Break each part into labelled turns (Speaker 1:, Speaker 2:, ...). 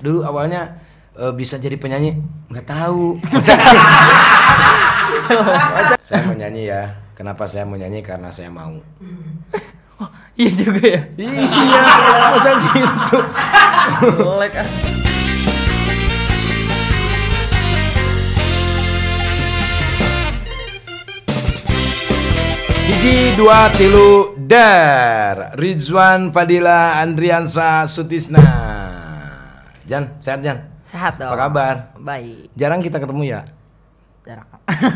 Speaker 1: dulu awalnya eh, bisa jadi penyanyi nggak tahu. saya mau nyanyi ya. Kenapa saya mau nyanyi? Karena saya mau.
Speaker 2: Oh, iya juga ya.
Speaker 1: iya, masa gitu.
Speaker 2: Jelek ah.
Speaker 1: Gigi dua tilu der Rizwan Padilla Andriansa Sutisna Jan, sehat Jan?
Speaker 2: Sehat dong.
Speaker 1: Apa kabar?
Speaker 2: Baik.
Speaker 1: Jarang kita ketemu ya?
Speaker 2: Jarang.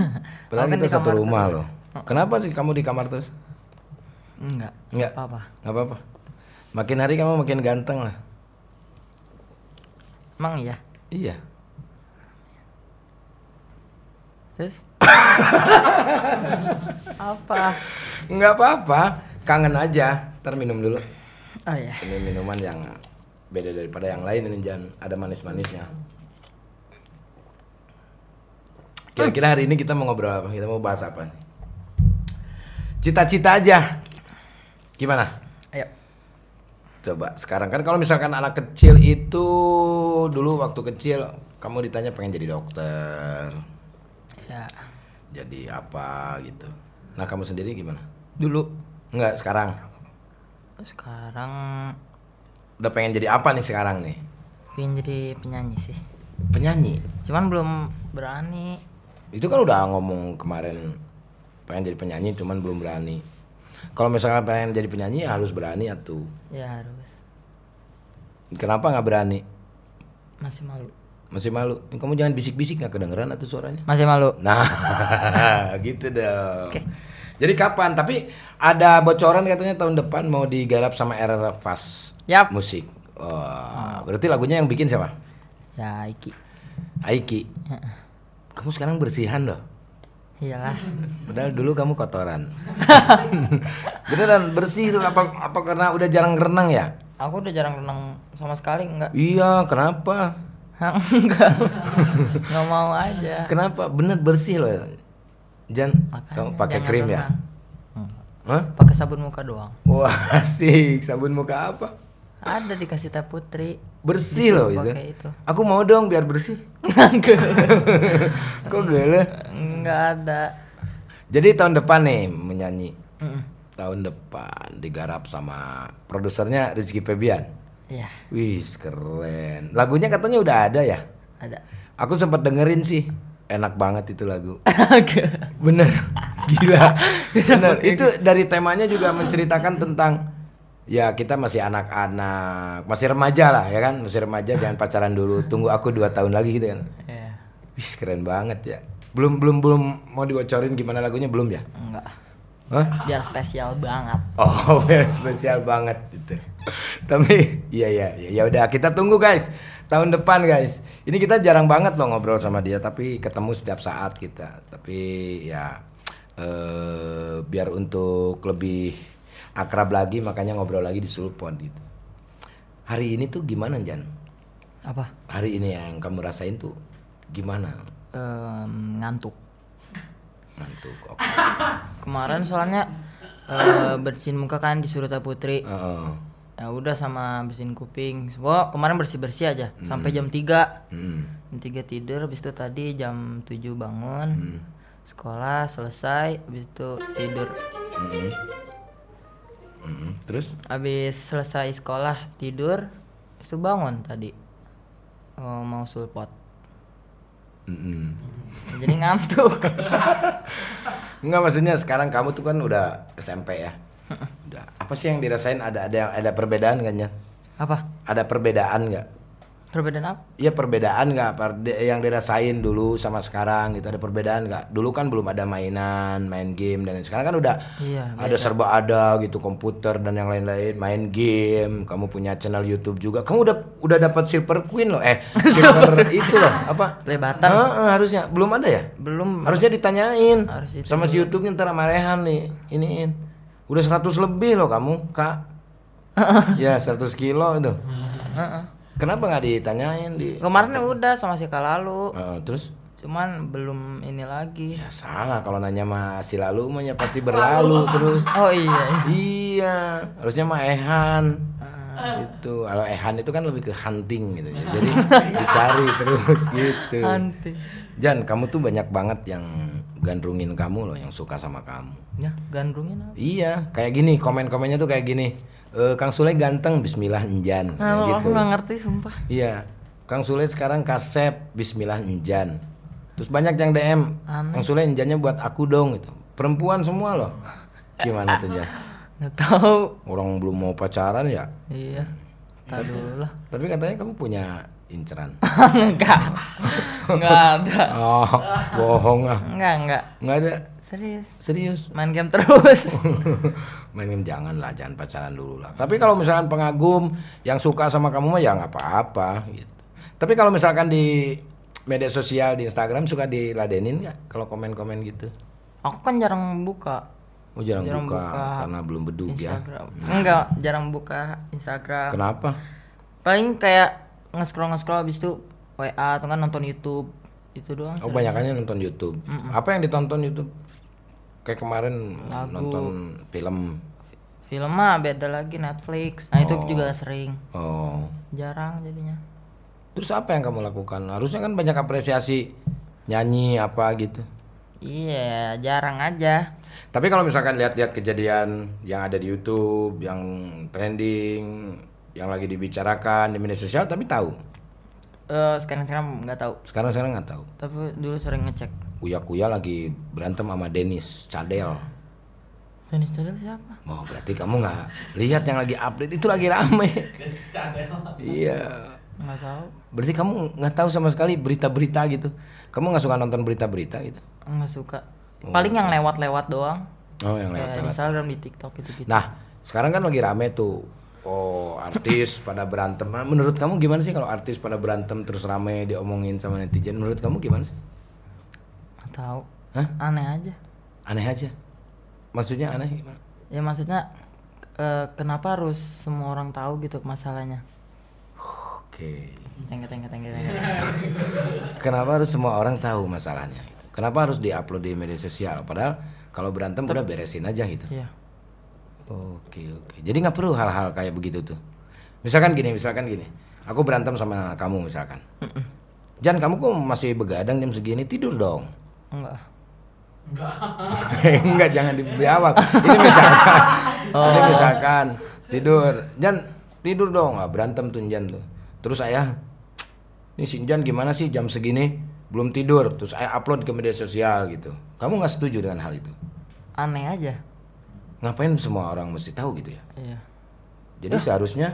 Speaker 1: Padahal
Speaker 2: Aku kan
Speaker 1: kita
Speaker 2: di
Speaker 1: satu
Speaker 2: kamar
Speaker 1: rumah
Speaker 2: terus.
Speaker 1: loh Kenapa sih kamu di kamar terus?
Speaker 2: Enggak.
Speaker 1: Enggak
Speaker 2: Apa-apa.
Speaker 1: Nggak apa-apa Makin hari kamu makin ganteng lah
Speaker 2: Emang iya.
Speaker 1: Iya
Speaker 2: Terus? apa?
Speaker 1: Nggak apa-apa Kangen aja Ntar minum dulu
Speaker 2: Oh ya.
Speaker 1: Ini minuman yang beda daripada yang lain ini Jan Ada manis-manisnya Kira-kira hari ini kita mau ngobrol apa? Kita mau bahas apa? Cita-cita aja Gimana?
Speaker 2: Ayo.
Speaker 1: Coba sekarang kan kalau misalkan anak kecil itu dulu waktu kecil kamu ditanya pengen jadi dokter,
Speaker 2: Ya.
Speaker 1: jadi apa gitu. Nah kamu sendiri gimana?
Speaker 2: Dulu.
Speaker 1: Enggak sekarang.
Speaker 2: Sekarang
Speaker 1: Udah pengen jadi apa nih sekarang nih?
Speaker 2: ingin jadi penyanyi sih.
Speaker 1: Penyanyi.
Speaker 2: Cuman belum berani.
Speaker 1: Itu kan udah ngomong kemarin pengen jadi penyanyi cuman belum berani. Kalau misalkan pengen jadi penyanyi ya harus berani atuh.
Speaker 2: Ya harus.
Speaker 1: Kenapa nggak berani?
Speaker 2: Masih malu.
Speaker 1: Masih malu. Kamu jangan bisik-bisik nggak kedengeran atuh suaranya.
Speaker 2: Masih malu.
Speaker 1: Nah, gitu dong. Jadi kapan? Tapi ada bocoran katanya tahun depan mau digarap sama RR Fast
Speaker 2: Yap.
Speaker 1: Musik. Wah, berarti lagunya yang bikin siapa?
Speaker 2: Ya Iki.
Speaker 1: Aiki. Kamu sekarang bersihan loh.
Speaker 2: Iyalah.
Speaker 1: Padahal dulu kamu kotoran. Beneran bersih itu apa apa karena udah jarang renang ya?
Speaker 2: Aku udah jarang renang sama sekali enggak.
Speaker 1: Iya, kenapa?
Speaker 2: enggak. Enggak mau aja.
Speaker 1: Kenapa? Bener bersih loh. Jan,
Speaker 2: Makanya
Speaker 1: kamu pakai
Speaker 2: jangan
Speaker 1: krim ya?
Speaker 2: renang.
Speaker 1: Hah?
Speaker 2: Pakai sabun muka doang.
Speaker 1: Wah, asik. Sabun muka apa?
Speaker 2: Ada dikasih teh putri.
Speaker 1: bersih loh itu.
Speaker 2: Pakai itu.
Speaker 1: Aku mau dong biar bersih. Kok gele?
Speaker 2: Enggak ada.
Speaker 1: Jadi tahun depan nih menyanyi.
Speaker 2: Mm.
Speaker 1: Tahun depan digarap sama produsernya Rizky Febian.
Speaker 2: Iya,
Speaker 1: Wih, keren. Lagunya katanya udah ada ya.
Speaker 2: ada.
Speaker 1: Aku sempat dengerin sih. Enak banget itu lagu. Bener. Gila. Bener. Itu dari temanya juga menceritakan tentang ya kita masih anak-anak, masih remaja lah ya kan, masih remaja jangan pacaran dulu, tunggu aku dua tahun lagi gitu kan.
Speaker 2: Iya.
Speaker 1: Wih keren banget ya. Belum belum belum mau dibocorin gimana lagunya belum ya?
Speaker 2: Enggak.
Speaker 1: Hah?
Speaker 2: Biar spesial banget.
Speaker 1: Oh, biar spesial banget itu. Tapi iya iya iya ya udah kita tunggu guys. Tahun depan guys. Ini kita jarang banget loh ngobrol sama dia tapi ketemu setiap saat kita. Tapi ya eh biar untuk lebih akrab lagi makanya ngobrol lagi di Sulpon gitu. Hari ini tuh gimana Jan?
Speaker 2: Apa?
Speaker 1: Hari ini yang kamu rasain tuh gimana?
Speaker 2: Em, ngantuk.
Speaker 1: Ngantuk. Oke.
Speaker 2: Kemarin soalnya eh, bersihin muka kan disuruh teh putri.
Speaker 1: Heeh.
Speaker 2: Ya udah sama bersihin kuping. Semua kemarin bersih-bersih aja sampai jam 3.
Speaker 1: Hmm.
Speaker 2: Jam 3 tidur, habis itu tadi jam 7 bangun. Sekolah selesai, habis itu tidur.
Speaker 1: Mm-mm. Hmm. Terus?
Speaker 2: Habis selesai sekolah tidur, habis itu bangun tadi. Eh, mau sulpot.
Speaker 1: Hmm,
Speaker 2: Jadi ngantuk.
Speaker 1: Enggak maksudnya sekarang kamu tuh kan udah SMP ya. Udah. Apa sih yang dirasain ada ada ada perbedaan kan ya?
Speaker 2: Apa?
Speaker 1: Ada perbedaan nggak?
Speaker 2: Perbedaan apa?
Speaker 1: Iya perbedaan nggak Perde- yang dirasain dulu sama sekarang gitu ada perbedaan nggak? Dulu kan belum ada mainan, main game dan lain- sekarang kan udah
Speaker 2: Iya,
Speaker 1: ada serba ada gitu komputer dan yang lain-lain, main game, kamu punya channel YouTube juga, kamu udah udah dapat silver queen loh, eh silver itu loh apa?
Speaker 2: Pelebatan
Speaker 1: Heeh, harusnya belum ada ya?
Speaker 2: belum
Speaker 1: Harusnya ditanyain
Speaker 2: Harus itu
Speaker 1: sama si YouTube-nya ntar sama Rehan nih. Iniin. Udah 100 lebih loh kamu, Kak. ya, 100 kilo itu. Kenapa nggak ditanyain di
Speaker 2: kemarin udah sama si Kalalu.
Speaker 1: Eh, terus?
Speaker 2: Cuman belum ini lagi.
Speaker 1: Ya salah kalau nanya mah si lalu mah ya pasti berlalu terus.
Speaker 2: Oh iya.
Speaker 1: Iya, harusnya mah Ehan.
Speaker 2: Eh,
Speaker 1: itu kalau ehan itu kan lebih ke hunting gitu ya. jadi dicari terus gitu
Speaker 2: Hunting.
Speaker 1: Jan kamu tuh banyak banget yang gandrungin kamu loh yang suka sama kamu
Speaker 2: Ya, gandrungin apa?
Speaker 1: iya kayak gini komen-komennya tuh kayak gini "Eh, Kang Sule ganteng Bismillah Enjan
Speaker 2: Nah,
Speaker 1: Kayak
Speaker 2: aku
Speaker 1: gitu
Speaker 2: nggak ngerti sumpah.
Speaker 1: iya Kang Sule sekarang kasep Bismillah Enjan terus banyak yang DM Kang Sule Enjannya buat aku dong gitu perempuan semua loh gimana tuh Jan
Speaker 2: Nggak tahu.
Speaker 1: orang belum mau pacaran ya
Speaker 2: Iya. Entar dulu lah.
Speaker 1: Tapi katanya kamu punya inceran.
Speaker 2: enggak. Enggak ada.
Speaker 1: Oh, bohong ah.
Speaker 2: Enggak, enggak.
Speaker 1: Nggak ada.
Speaker 2: Serius.
Speaker 1: Serius.
Speaker 2: Main game terus.
Speaker 1: Main game jangan lah, jangan pacaran dulu lah. Tapi kalau misalkan pengagum yang suka sama kamu mah ya nggak apa-apa gitu. Tapi kalau misalkan di media sosial di Instagram suka diladenin nggak kalau komen-komen gitu?
Speaker 2: aku kan jarang buka
Speaker 1: Oh jarang,
Speaker 2: Jarang
Speaker 1: buka,
Speaker 2: buka.
Speaker 1: karena belum bedug ya.
Speaker 2: Instagram. Enggak, jarang buka Instagram.
Speaker 1: Kenapa? Oh,
Speaker 2: Paling kayak nge-scroll nge-scroll habis itu WA atau kan nonton YouTube. Itu doang.
Speaker 1: Oh banyakannya nonton YouTube. Apa yang ditonton YouTube? Kayak kemarin nonton film.
Speaker 2: Film mah beda lagi Netflix. Nah, itu juga sering.
Speaker 1: Oh.
Speaker 2: Jarang jadinya.
Speaker 1: Terus apa yang kamu lakukan? Harusnya kan banyak apresiasi nyanyi apa gitu.
Speaker 2: Iya, jarang aja.
Speaker 1: Tapi kalau misalkan lihat-lihat kejadian yang ada di YouTube, yang trending, yang lagi dibicarakan di media sosial, tapi tahu.
Speaker 2: Eh, sekarang-sekarang nggak tahu.
Speaker 1: Sekarang sekarang nggak tahu.
Speaker 2: Tapi dulu sering ngecek.
Speaker 1: Uya Kuya lagi berantem sama Dennis Cadel.
Speaker 2: Dennis Chalil siapa?
Speaker 1: Oh berarti kamu nggak lihat yang lagi update itu lagi rame. Iya.
Speaker 2: Nggak tahu.
Speaker 1: Berarti kamu nggak tahu sama sekali berita-berita gitu. Kamu nggak suka nonton berita-berita gitu.
Speaker 2: Nggak suka. Paling yang lewat-lewat doang.
Speaker 1: Oh yang lewat
Speaker 2: Kayak di Instagram, di TikTok gitu-gitu.
Speaker 1: Nah, sekarang kan lagi rame tuh. Oh, artis pada berantem. Nah, Menurut kamu gimana sih kalau artis pada berantem terus rame diomongin sama netizen? Menurut kamu gimana sih?
Speaker 2: Nggak tahu.
Speaker 1: Hah?
Speaker 2: Aneh aja.
Speaker 1: Aneh aja. Maksudnya aneh gimana?
Speaker 2: Ya maksudnya eh, kenapa harus semua orang tahu gitu masalahnya?
Speaker 1: Oke.
Speaker 2: Tengke tengke tengke tengke.
Speaker 1: Kenapa harus semua orang tahu masalahnya? Kenapa harus diupload di media sosial? Padahal kalau berantem udah beresin aja gitu.
Speaker 2: Iya.
Speaker 1: Oke oke. Jadi nggak perlu hal-hal kayak begitu tuh. Misalkan gini, misalkan gini. Aku berantem sama kamu misalkan. Jan, kamu kok masih begadang jam segini tidur dong.
Speaker 2: Enggak.
Speaker 1: Enggak, jangan dijawab. Ini misalkan, ini misalkan tidur, Jan tidur dong, ah, berantem tuh Jan tuh. Terus ayah, ini si Jan gimana sih jam segini belum tidur? Terus ayah upload ke media sosial gitu. Kamu nggak setuju dengan hal itu?
Speaker 2: Aneh aja.
Speaker 1: Ngapain semua orang mesti tahu gitu ya?
Speaker 2: Iya.
Speaker 1: Jadi seharusnya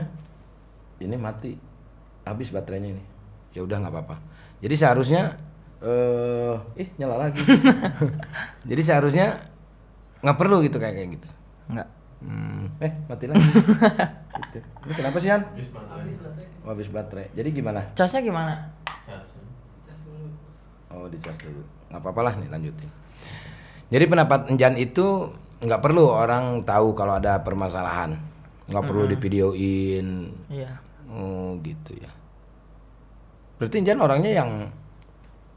Speaker 1: ini mati, habis baterainya ini. Ya udah nggak apa-apa. Jadi seharusnya eh ih nyala lagi. Jadi seharusnya nggak perlu gitu kayak kayak gitu.
Speaker 2: Enggak.
Speaker 1: Eh, mati lagi. Gitu. Ini kenapa sih, Han? Habis baterai. habis baterai. Jadi gimana?
Speaker 2: Casnya gimana?
Speaker 1: Oh, di charge dulu. Nggak apa-apa lah, nih lanjutin. Jadi pendapat Enjan itu nggak perlu orang tahu kalau ada permasalahan. Nggak perlu divideoin.
Speaker 2: Iya.
Speaker 1: Oh, gitu ya. Berarti Enjan orangnya yang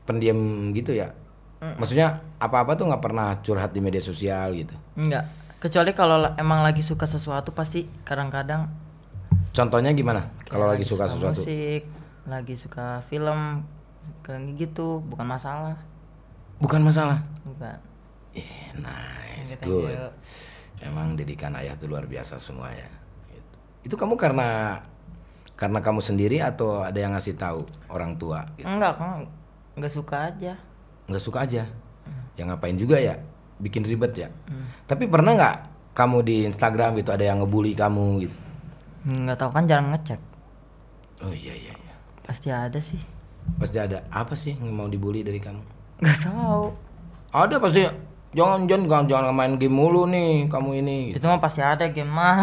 Speaker 1: pendiam gitu ya? Maksudnya apa-apa tuh nggak pernah curhat di media sosial gitu.
Speaker 2: Enggak. Kecuali kalau la- emang lagi suka sesuatu pasti kadang-kadang
Speaker 1: Contohnya gimana? Kalau lagi suka sesuatu.
Speaker 2: musik, lagi suka film, kayak gitu, bukan masalah.
Speaker 1: Bukan masalah.
Speaker 2: Bukan.
Speaker 1: Yeah, nice,
Speaker 2: Thank you,
Speaker 1: good.
Speaker 2: thank you.
Speaker 1: Emang didikan ayah tuh luar biasa semua ya. Gitu. Itu kamu karena karena kamu sendiri atau ada yang ngasih tahu orang tua? Gitu.
Speaker 2: Enggak, kan enggak suka aja.
Speaker 1: Nggak suka aja. Ya ngapain juga ya? Bikin ribet ya.
Speaker 2: Hmm.
Speaker 1: Tapi pernah nggak kamu di Instagram gitu ada yang ngebully kamu gitu?
Speaker 2: Enggak tahu kan jarang ngecek.
Speaker 1: Oh iya iya. iya.
Speaker 2: Pasti ada sih.
Speaker 1: Pasti ada apa sih yang mau dibully dari kamu?
Speaker 2: Enggak tahu.
Speaker 1: Ada pasti. Jangan jangan jangan, jangan main game mulu nih kamu ini. Gitu. Oh.
Speaker 2: Itu mah pasti ada game mah.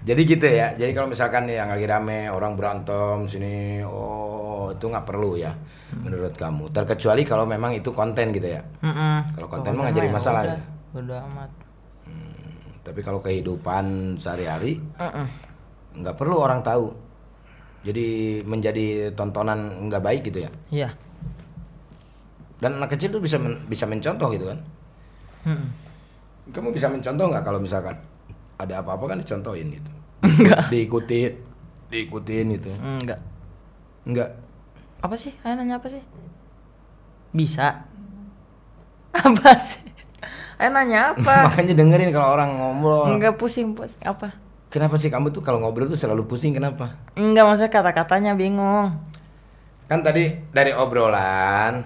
Speaker 1: Jadi gitu ya. Jadi kalau misalkan nih yang lagi rame orang berantem sini, oh itu nggak perlu ya menurut kamu. Terkecuali kalau memang itu konten gitu ya.
Speaker 2: Mm-mm.
Speaker 1: Kalau konten mah nggak jadi
Speaker 2: ya
Speaker 1: masalah
Speaker 2: udah,
Speaker 1: ya.
Speaker 2: Bodo amat.
Speaker 1: Tapi kalau kehidupan sehari-hari
Speaker 2: Mm-mm.
Speaker 1: nggak perlu orang tahu. Jadi menjadi tontonan nggak baik gitu ya.
Speaker 2: Iya.
Speaker 1: Dan anak kecil tuh bisa men- bisa mencontoh gitu kan.
Speaker 2: Mm-mm.
Speaker 1: Kamu bisa mencontoh nggak kalau misalkan ada apa-apa kan dicontohin gitu. Diikuti diikutin gitu. itu.
Speaker 2: Enggak.
Speaker 1: Enggak.
Speaker 2: Apa sih? Ayo nanya apa sih? Bisa. Apa sih? Ayo nanya apa?
Speaker 1: Makanya dengerin kalau orang ngobrol.
Speaker 2: Enggak pusing, pusing. Apa?
Speaker 1: Kenapa sih kamu tuh kalau ngobrol tuh selalu pusing kenapa?
Speaker 2: Enggak maksudnya kata-katanya bingung.
Speaker 1: Kan tadi dari obrolan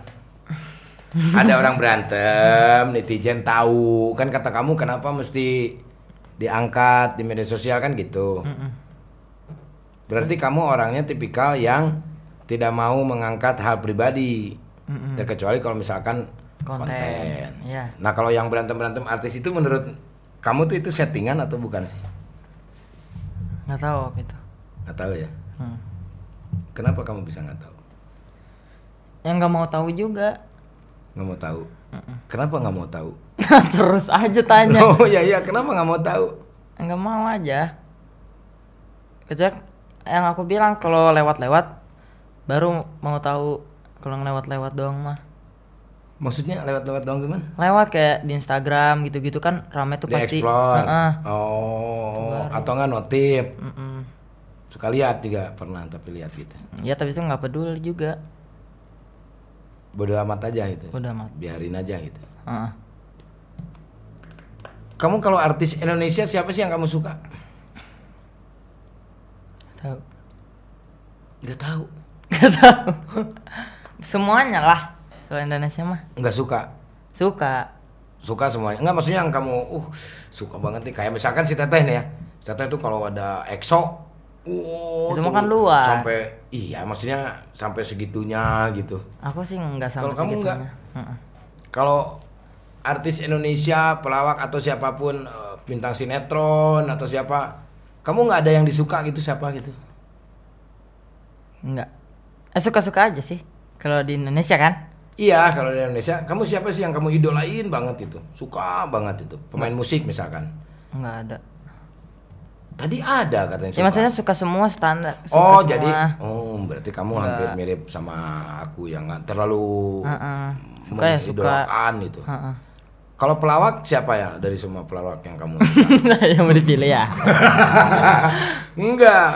Speaker 1: ada orang berantem, netizen tahu. Kan kata kamu kenapa mesti diangkat di media sosial kan gitu. Berarti kamu orangnya tipikal yang tidak mau mengangkat hal pribadi. Terkecuali kalau misalkan konten.
Speaker 2: Konten, iya.
Speaker 1: Nah, kalau yang berantem-berantem artis itu menurut kamu tuh itu settingan atau bukan sih?
Speaker 2: Nggak tahu apa itu.
Speaker 1: Nggak tahu ya.
Speaker 2: Hmm.
Speaker 1: Kenapa kamu bisa nggak tahu?
Speaker 2: Yang nggak mau tahu juga.
Speaker 1: Nggak mau tahu. Kenapa nggak mau tahu?
Speaker 2: Terus aja tanya.
Speaker 1: Oh iya iya, kenapa nggak mau tahu?
Speaker 2: Nggak mau aja. Kecuali yang aku bilang kalau lewat-lewat baru mau tahu kalau lewat-lewat doang mah.
Speaker 1: Maksudnya lewat-lewat doang gimana?
Speaker 2: Lewat kayak di Instagram gitu-gitu kan rame tuh
Speaker 1: Di
Speaker 2: pasti.
Speaker 1: explore.
Speaker 2: Heeh.
Speaker 1: Oh, atau nggak notif? Suka lihat juga pernah tapi lihat gitu.
Speaker 2: Ya tapi itu nggak peduli juga.
Speaker 1: Bodoh amat aja gitu.
Speaker 2: Udah amat.
Speaker 1: Biarin aja gitu.
Speaker 2: Heeh.
Speaker 1: Kamu kalau artis Indonesia siapa sih yang kamu suka?
Speaker 2: Tahu.
Speaker 1: Nggak tahu.
Speaker 2: Nggak tahu. Semuanya lah kalau Indonesia mah
Speaker 1: Nggak suka.
Speaker 2: suka.
Speaker 1: Suka semuanya. Nggak maksudnya yang kamu uh suka banget nih kayak misalkan si Teteh nih ya. Si Teteh tuh kalau ada EXO Uh, tuh
Speaker 2: Itu mah kan luar.
Speaker 1: Sampai iya maksudnya sampai segitunya gitu.
Speaker 2: Aku sih nggak sampai
Speaker 1: Kalau kamu
Speaker 2: segitunya.
Speaker 1: nggak?
Speaker 2: Heeh.
Speaker 1: kalau artis Indonesia, pelawak atau siapapun eh, bintang sinetron atau siapa, kamu nggak ada yang disuka gitu siapa gitu?
Speaker 2: Enggak. Eh, suka-suka aja sih. Kalau di Indonesia kan?
Speaker 1: Iya, kalau di Indonesia, kamu siapa sih yang kamu idolain banget itu? Suka banget itu, pemain
Speaker 2: Nah.
Speaker 1: musik misalkan.
Speaker 2: Enggak ada.
Speaker 1: Tadi ada katanya
Speaker 2: Ya
Speaker 1: suka.
Speaker 2: maksudnya suka semua standar. Suka
Speaker 1: oh,
Speaker 2: semua.
Speaker 1: jadi oh, berarti kamu hampir mirip sama aku yang nggak terlalu
Speaker 2: Heeh. Suka ya suka.
Speaker 1: mengidolakan itu.
Speaker 2: Heeh.
Speaker 1: Kalau pelawak siapa ya dari semua pelawak yang kamu
Speaker 2: yang mau dipilih ya.
Speaker 1: Ah, Enggak.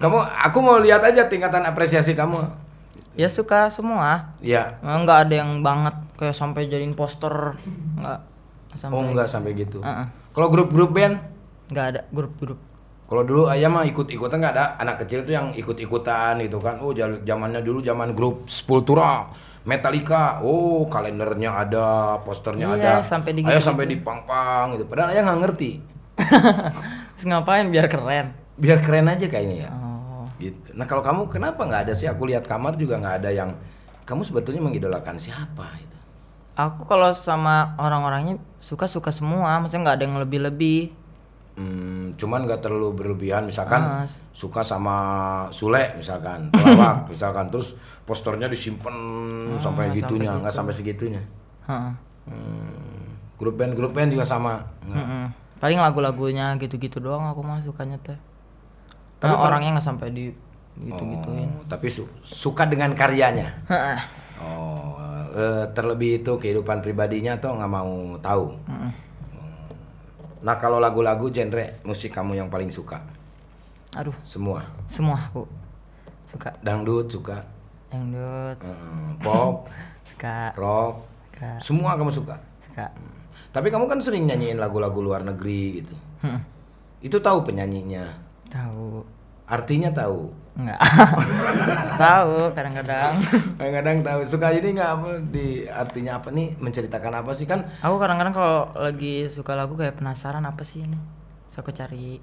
Speaker 1: Kamu aku mau lihat aja tingkatan apresiasi kamu.
Speaker 2: ya suka semua.
Speaker 1: Ya.
Speaker 2: Enggak ada yang banget kayak sampai jadiin poster. Enggak. Sampai. Ah,
Speaker 1: Oh enggak sampai gitu.
Speaker 2: Heeh.
Speaker 1: Kalau grup-grup band,
Speaker 2: Enggak ada grup-grup.
Speaker 1: kalau dulu ayah mah ikut-ikutan nggak ada anak kecil tuh yang ikut-ikutan gitu kan. Oh jal- zamannya dulu zaman grup Sepultura, Metallica. Oh kalendernya ada, posternya ada.
Speaker 2: Iya, sampai di
Speaker 1: ayah
Speaker 2: gitu-gitu.
Speaker 1: sampai di pang-pang gitu. Padahal ayah nggak ngerti.
Speaker 2: Terus ngapain biar keren?
Speaker 1: Biar keren aja kayaknya ya.
Speaker 2: Oh.
Speaker 1: Gitu. Nah kalau kamu kenapa nggak ada sih? Aku lihat kamar juga nggak ada yang kamu sebetulnya mengidolakan siapa gitu.
Speaker 2: Aku kalau sama orang-orangnya suka-suka semua, maksudnya nggak ada yang lebih-lebih.
Speaker 1: Hmm, cuman nggak terlalu berlebihan misalkan
Speaker 2: Ah, s-
Speaker 1: suka sama Sule misalkan pelawak misalkan terus posternya disimpan sampai gitunya nggak sampai segitunya
Speaker 2: Heeh.
Speaker 1: hmm, grup band grup band juga sama Nggak.
Speaker 2: Mm-mm. Paling lagu-lagunya gitu-gitu doang aku mah sukanya teh.
Speaker 1: Tapi
Speaker 2: Nah,
Speaker 1: per-
Speaker 2: orangnya nggak sampai di gitu. gitu-gituin.
Speaker 1: Oh, tapi su- suka dengan karyanya
Speaker 2: Heeh.
Speaker 1: oh eh, terlebih itu kehidupan pribadinya tuh nggak mau tahu Hmm. nah kalau lagu-lagu genre musik kamu yang paling suka
Speaker 2: Aduh,
Speaker 1: semua
Speaker 2: semua aku suka
Speaker 1: dangdut suka
Speaker 2: dangdut,
Speaker 1: eh, pop
Speaker 2: suka
Speaker 1: rock
Speaker 2: suka
Speaker 1: semua kamu suka
Speaker 2: suka.
Speaker 1: Tapi kamu kan sering nyanyiin lagu-lagu luar negeri gitu.
Speaker 2: Heeh.
Speaker 1: Itu tahu penyanyinya,
Speaker 2: Tahu.
Speaker 1: artinya tahu.
Speaker 2: Enggak. Tahu kadang-kadang.
Speaker 1: Kadang-kadang tahu. Suka ini nggak apa di artinya apa nih? Menceritakan apa sih kan?
Speaker 2: Aku kadang-kadang kalau lagi suka lagu kayak penasaran apa sih ini. Terus aku cari.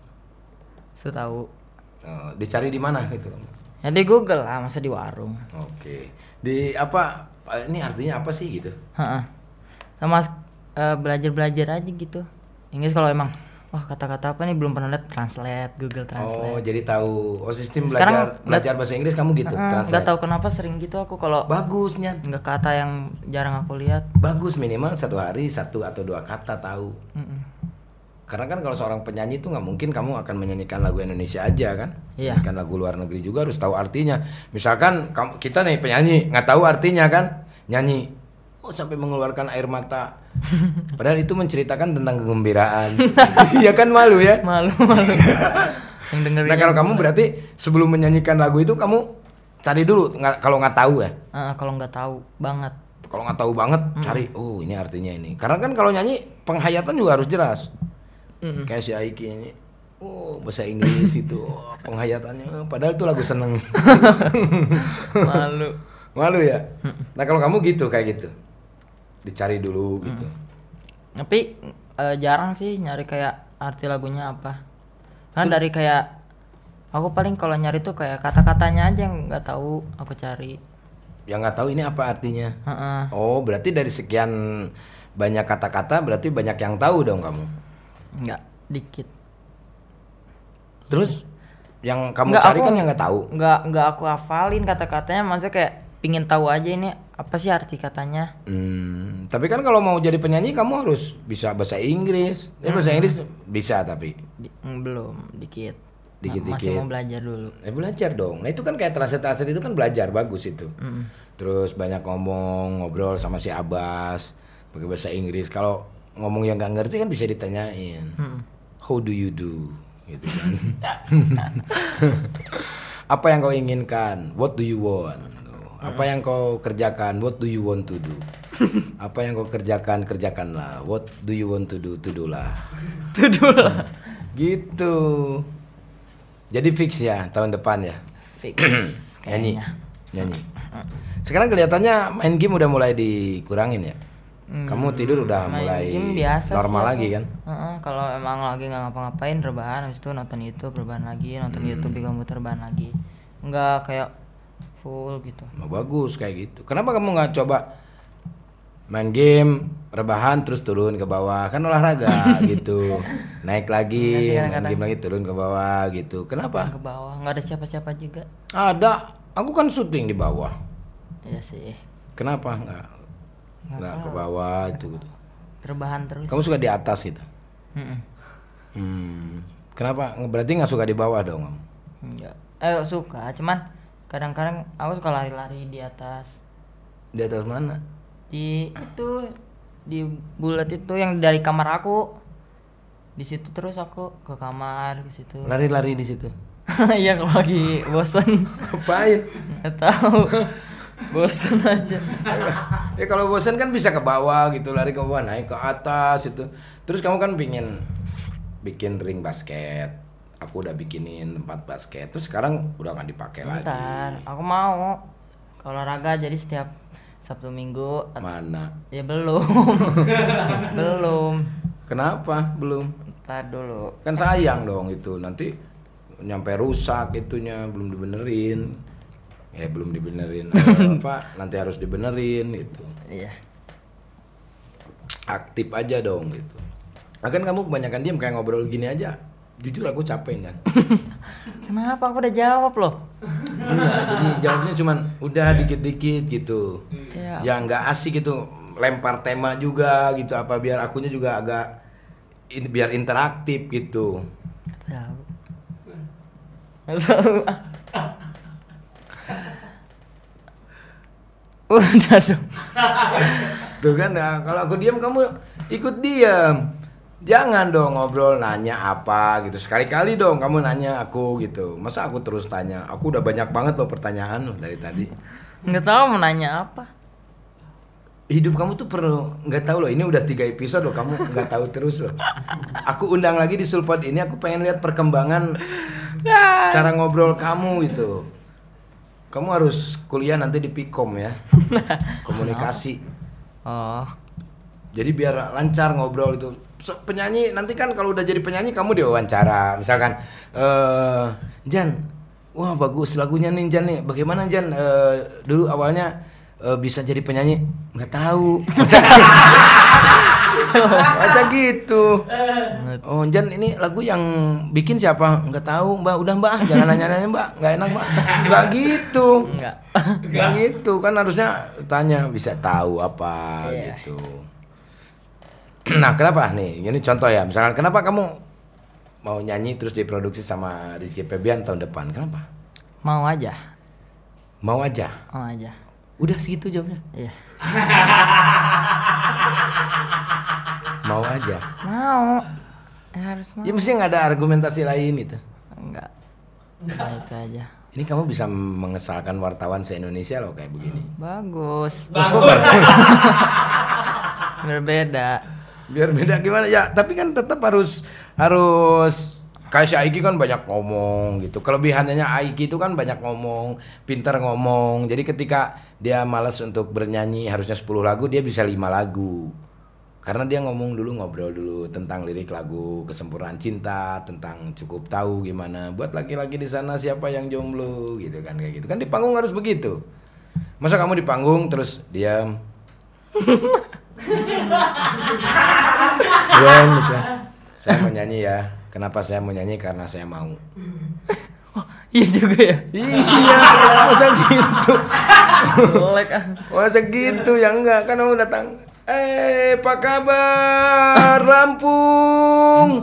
Speaker 2: Terus tahu.
Speaker 1: eh, dicari di mana gitu.
Speaker 2: Ya di Google lah, masa di warung.
Speaker 1: Oke. Di apa? eh, Ini artinya apa sih gitu?
Speaker 2: Heeh. Sama eh, belajar-belajar aja gitu. Inggris kalau emang wah kata-kata apa nih belum pernah lihat translate Google
Speaker 1: Oh,
Speaker 2: Translate.
Speaker 1: jadi tahu. Oh, sistem
Speaker 2: Sekarang
Speaker 1: belajar belajar bahasa Inggris kamu gitu.
Speaker 2: Heeh, nggak
Speaker 1: translate.
Speaker 2: tahu kenapa sering gitu aku kalau
Speaker 1: Bagusnya.
Speaker 2: nggak kata yang jarang aku lihat.
Speaker 1: Bagus minimal satu hari satu atau dua kata tahu. Karena kan kalau seorang penyanyi itu nggak mungkin kamu akan menyanyikan lagu Indonesia aja kan?
Speaker 2: Iya.
Speaker 1: Menyanyikan lagu luar negeri juga harus tahu artinya. Misalkan kamu, kita nih penyanyi nggak tahu artinya kan? Nyanyi oh sampai mengeluarkan air mata. Padahal itu menceritakan tentang kegembiraan. Iya kan malu ya.
Speaker 2: malu ya. malu yang dengerin
Speaker 1: Nah kalau kamu berarti sebelum menyanyikan lagu itu kamu cari dulu nggak- kalau nggak tahu ya.
Speaker 2: Ah, kalau nggak tahu banget
Speaker 1: Kalau nggak tahu banget cari oh ini artinya ini. Karena kan kalau nyanyi penghayatan juga harus jelas. Kayak si Aiki nyanyi oh bahasa Inggris itu oh, penghayatannya padahal itu lagu seneng.
Speaker 2: malu
Speaker 1: Malu ya. Nah kalau kamu gitu kayak gitu dicari dulu gitu.
Speaker 2: tapi eh, jarang sih nyari kayak arti lagunya apa kan dari kayak aku paling kalau nyari tuh kayak kata-katanya aja yang nggak tahu aku cari
Speaker 1: Yang nggak tahu ini apa artinya.
Speaker 2: Heeh.
Speaker 1: Oh berarti dari sekian banyak kata-kata berarti banyak yang tahu dong kamu.
Speaker 2: nggak dikit
Speaker 1: Terus yang kamu
Speaker 2: Nggak,
Speaker 1: cari
Speaker 2: aku-
Speaker 1: kan yang nggak tahu.
Speaker 2: nggak nggak aku hafalin kata-katanya maksudnya kayak pingin tahu aja ini apa sih arti katanya
Speaker 1: Hmm, tapi kan kalau mau jadi penyanyi kamu harus bisa bahasa Inggris. Eh, bahasa Inggris bisa tapi
Speaker 2: Di- mm, belum dikit
Speaker 1: Dikit-dikit.
Speaker 2: masih mau belajar dulu
Speaker 1: eh, belajar dong. Nah itu kan kayak translate-translate itu kan belajar bagus itu. Terus banyak ngomong ngobrol sama si Abbas pakai bahasa Inggris. Kalau ngomong yang nggak ngerti kan bisa ditanyain. How do you do? Gitu kan. Apa yang kau inginkan? What do you want? Apa yang kau kerjakan? What do you want to do? Apa yang kau kerjakan? Kerjakanlah. What do you want to do? To do lah.
Speaker 2: itu dulu
Speaker 1: Gitu. Jadi fix ya tahun depan ya.
Speaker 2: fix
Speaker 1: Nyanyi.
Speaker 2: kayaknya
Speaker 1: Nyanyi. Sekarang kelihatannya main game udah mulai dikurangin ya. Kamu tidur udah
Speaker 2: Hmm, main
Speaker 1: mulai
Speaker 2: game biasa sih
Speaker 1: normal
Speaker 2: aku.
Speaker 1: lagi kan?
Speaker 2: Heeh, kalau emang lagi nggak ngapa-ngapain rebahan habis itu nonton YouTube rebahan lagi nonton
Speaker 1: Hmm.
Speaker 2: YouTube di komputer rebahan lagi nggak kayak full gitu
Speaker 1: Nah, bagus kayak gitu. Kenapa kamu nggak coba main game, rebahan terus turun ke bawah kan olahraga gitu. Naik
Speaker 2: Iya
Speaker 1: lagi, main game lagi turun ke bawah gitu. Kenapa?
Speaker 2: ke bawah nggak ada siapa-siapa juga
Speaker 1: Ada. Aku kan syuting di bawah.
Speaker 2: ya sih
Speaker 1: Kenapa nggak nggak ke bawah itu? gitu?
Speaker 2: rebahan terus
Speaker 1: Kamu suka di atas gitu.
Speaker 2: Heeh.
Speaker 1: Hmm. Kenapa? Berarti nggak suka di bawah dong kamu.
Speaker 2: Enggak. Eh suka, cuman kadang-kadang aku suka lari-lari di atas.
Speaker 1: Di atas mana?
Speaker 2: Di itu di bulat itu yang dari kamar aku. Di situ terus aku ke kamar ke situ.
Speaker 1: Lari-lari di situ.
Speaker 2: Iya kalau lagi bosen
Speaker 1: Ngapain?
Speaker 2: nggak tahu. bosen aja.
Speaker 1: ya kalau bosan kan bisa ke bawah gitu lari ke bawah naik ke atas itu terus kamu kan pingin bikin ring basket aku udah bikinin tempat basket terus sekarang udah nggak dipakai lagi
Speaker 2: Bentar, aku mau ke olahraga jadi setiap Sabtu Minggu at-
Speaker 1: mana
Speaker 2: ya belum. belum.
Speaker 1: kenapa belum
Speaker 2: Ntar dulu.
Speaker 1: kan sayang dong itu nanti nyampe rusak itunya belum dibenerin ya belum dibenerin Eh, apa nanti harus dibenerin gitu
Speaker 2: Iya.
Speaker 1: aktif aja dong gitu akan kamu kebanyakan diam kayak ngobrol gini aja jujur aku capek kan
Speaker 2: Kenapa aku udah jawab loh?
Speaker 1: Iya, jadi jawabnya cuman udah dikit-dikit gitu.
Speaker 2: Iya.
Speaker 1: Ya nggak asik gitu, lempar tema juga gitu apa biar akunya juga agak in- biar interaktif gitu.
Speaker 2: Nggak tahu Nggak tahu ah. udah dong
Speaker 1: Tuh kan nah, kalau aku diam kamu ikut diam. Jangan dong ngobrol nanya apa gitu. Sekali-kali dong kamu nanya aku gitu. Masa aku terus tanya? Aku udah banyak banget loh pertanyaan loh dari tadi.
Speaker 2: nggak tahu mau nanya apa
Speaker 1: Hidup kamu tuh perlu nggak tahu loh. Ini udah tiga episode loh. Kamu nggak tahu terus loh. Aku undang lagi di Sulpot ini. Aku pengen lihat perkembangan cara ngobrol kamu gitu. Kamu harus kuliah nanti di Pikom ya. Komunikasi.
Speaker 2: oh
Speaker 1: Jadi biar lancar ngobrol itu. So, penyanyi nanti kan kalau udah jadi penyanyi kamu diwawancara. Misalkan eh Jan, wah bagus lagunya nih Jan nih. Bagaimana Jan Eh, dulu awalnya eh, bisa jadi penyanyi? Nggak tahu. Masa gitu. Oh Jan ini lagu yang bikin siapa? Nggak tahu Mbak. Udah Mbak, jangan nanya-nanya Mbak. Nggak enak Mbak. Nggak gitu.
Speaker 2: Nggak.
Speaker 1: Nggak gitu kan harusnya tanya bisa tahu apa gitu. Nah kenapa nih? Ini contoh ya. Misalkan kenapa kamu mau nyanyi terus diproduksi sama Rizky Febian tahun depan? Kenapa?
Speaker 2: mau aja
Speaker 1: Mau aja.
Speaker 2: mau aja
Speaker 1: Udah segitu jawabnya.
Speaker 2: Iya.
Speaker 1: Mau aja.
Speaker 2: Mau. Ya, harus mau.
Speaker 1: Ya mestinya nggak ada argumentasi lain gitu.
Speaker 2: Enggak. Nah, itu aja.
Speaker 1: Ini kamu bisa mengesalkan wartawan se-Indonesia loh kayak begini.
Speaker 2: Bagus.
Speaker 1: Bagus.
Speaker 2: Berbeda.
Speaker 1: Biar beda gimana ya, tapi kan tetap harus harus kayak si Aiki kan banyak ngomong gitu. Kelebihannya Aiki itu kan banyak ngomong, pintar ngomong. Jadi ketika dia malas untuk bernyanyi harusnya 10 lagu, dia bisa 5 lagu. Karena dia ngomong dulu ngobrol dulu tentang lirik lagu kesempurnaan cinta, tentang cukup tahu gimana buat laki-laki di sana siapa yang jomblo gitu kan kayak gitu. Kan di panggung harus begitu. Masa kamu di panggung terus diam, Iya, gitu. Saya mau nyanyi ya. Kenapa saya mau nyanyi? Karena saya mau.
Speaker 2: Oh, iya juga ya.
Speaker 1: Iya, masa gitu.
Speaker 2: Jelek ah.
Speaker 1: Masa gitu ya enggak kan kamu datang. Eh, apa kabar Lampung?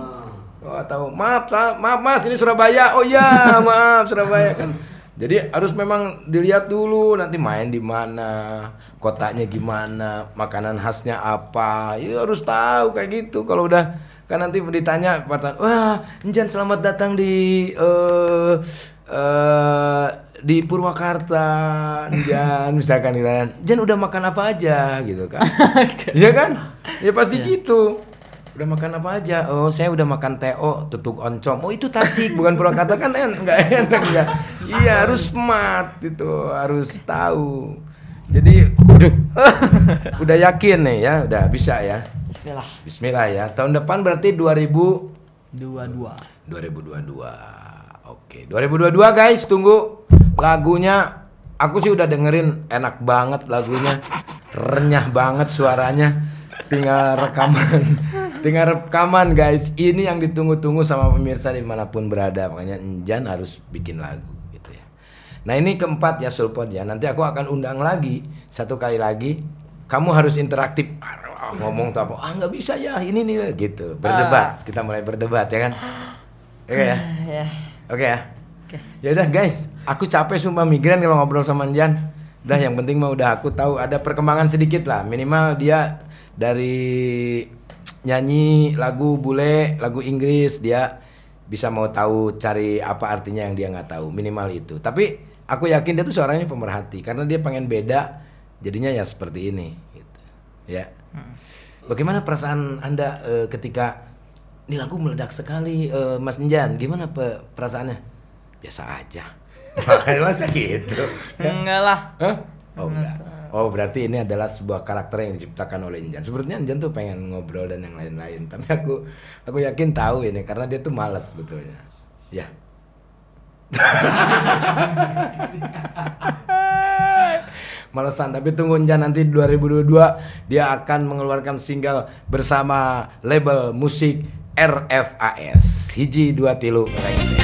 Speaker 1: Oh, tahu. Maaf, sa- maaf Mas, ini Surabaya. Oh ya, maaf Surabaya kan. Jadi harus memang dilihat dulu nanti main di mana, kotanya gimana, makanan khasnya apa. Ya harus tahu kayak gitu. Kalau udah kan nanti ditanya wartawan, "Wah, Enjan selamat datang di eh eh, di Purwakarta, Enjan." Misalkan gitu kan. "Enjan udah makan apa aja?" gitu kan. Iya kan? Ya pasti gitu. Udah makan apa aja? Oh, saya udah makan TO, tutuk oncom. Oh, itu Tasik, bukan Purwakarta kan en enggak enak ya. Iya, harus smart itu, harus tahu. Jadi, aduh, udah yakin nih ya, udah bisa ya.
Speaker 2: Bismillah.
Speaker 1: Bismillah ya. Tahun depan berarti 2000
Speaker 2: Dua dua.
Speaker 1: 2022. Oke, 2022 guys, tunggu lagunya. Aku sih udah dengerin enak banget lagunya. Renyah banget suaranya. Tinggal rekaman. Tinggal rekaman guys. Ini yang ditunggu-tunggu sama pemirsa dimanapun berada. Makanya Enjan harus bikin lagu gitu ya. Nah ini keempat ya Sulpod ya. Nanti aku akan undang lagi satu kali lagi. Kamu harus interaktif Ah, ngomong tuh apa? Ah nggak bisa ya. Ini nih gitu. Berdebat. Kita mulai berdebat ya kan. Oke ya.
Speaker 2: Ya.
Speaker 1: Oke ya. Ya udah guys, aku capek sumpah migran kalau ngobrol sama Jan. Udah yang penting mah udah aku tahu ada perkembangan sedikit lah. Minimal dia dari nyanyi lagu bule, lagu Inggris dia bisa mau tahu cari apa artinya yang dia nggak tahu minimal itu. Tapi aku yakin dia tuh suaranya pemerhati karena dia pengen beda jadinya ya seperti ini gitu. Ya. Bagaimana perasaan Anda eh, ketika ini lagu meledak sekali eh, Mas Njan? Gimana pe- perasaannya? Biasa aja. Masa gitu.
Speaker 2: Enggak lah.
Speaker 1: Hah? Oh enggak. Oh berarti ini adalah sebuah karakter yang diciptakan oleh Njan. Sebenarnya Njan tuh pengen ngobrol dan yang lain-lain, tapi aku aku yakin tahu ini karena dia tuh malas sebetulnya. Ya. Malesan, tapi tunggu Njan nanti 2022 dia akan mengeluarkan single bersama label musik RFAS. Hiji dua tilu Rengse.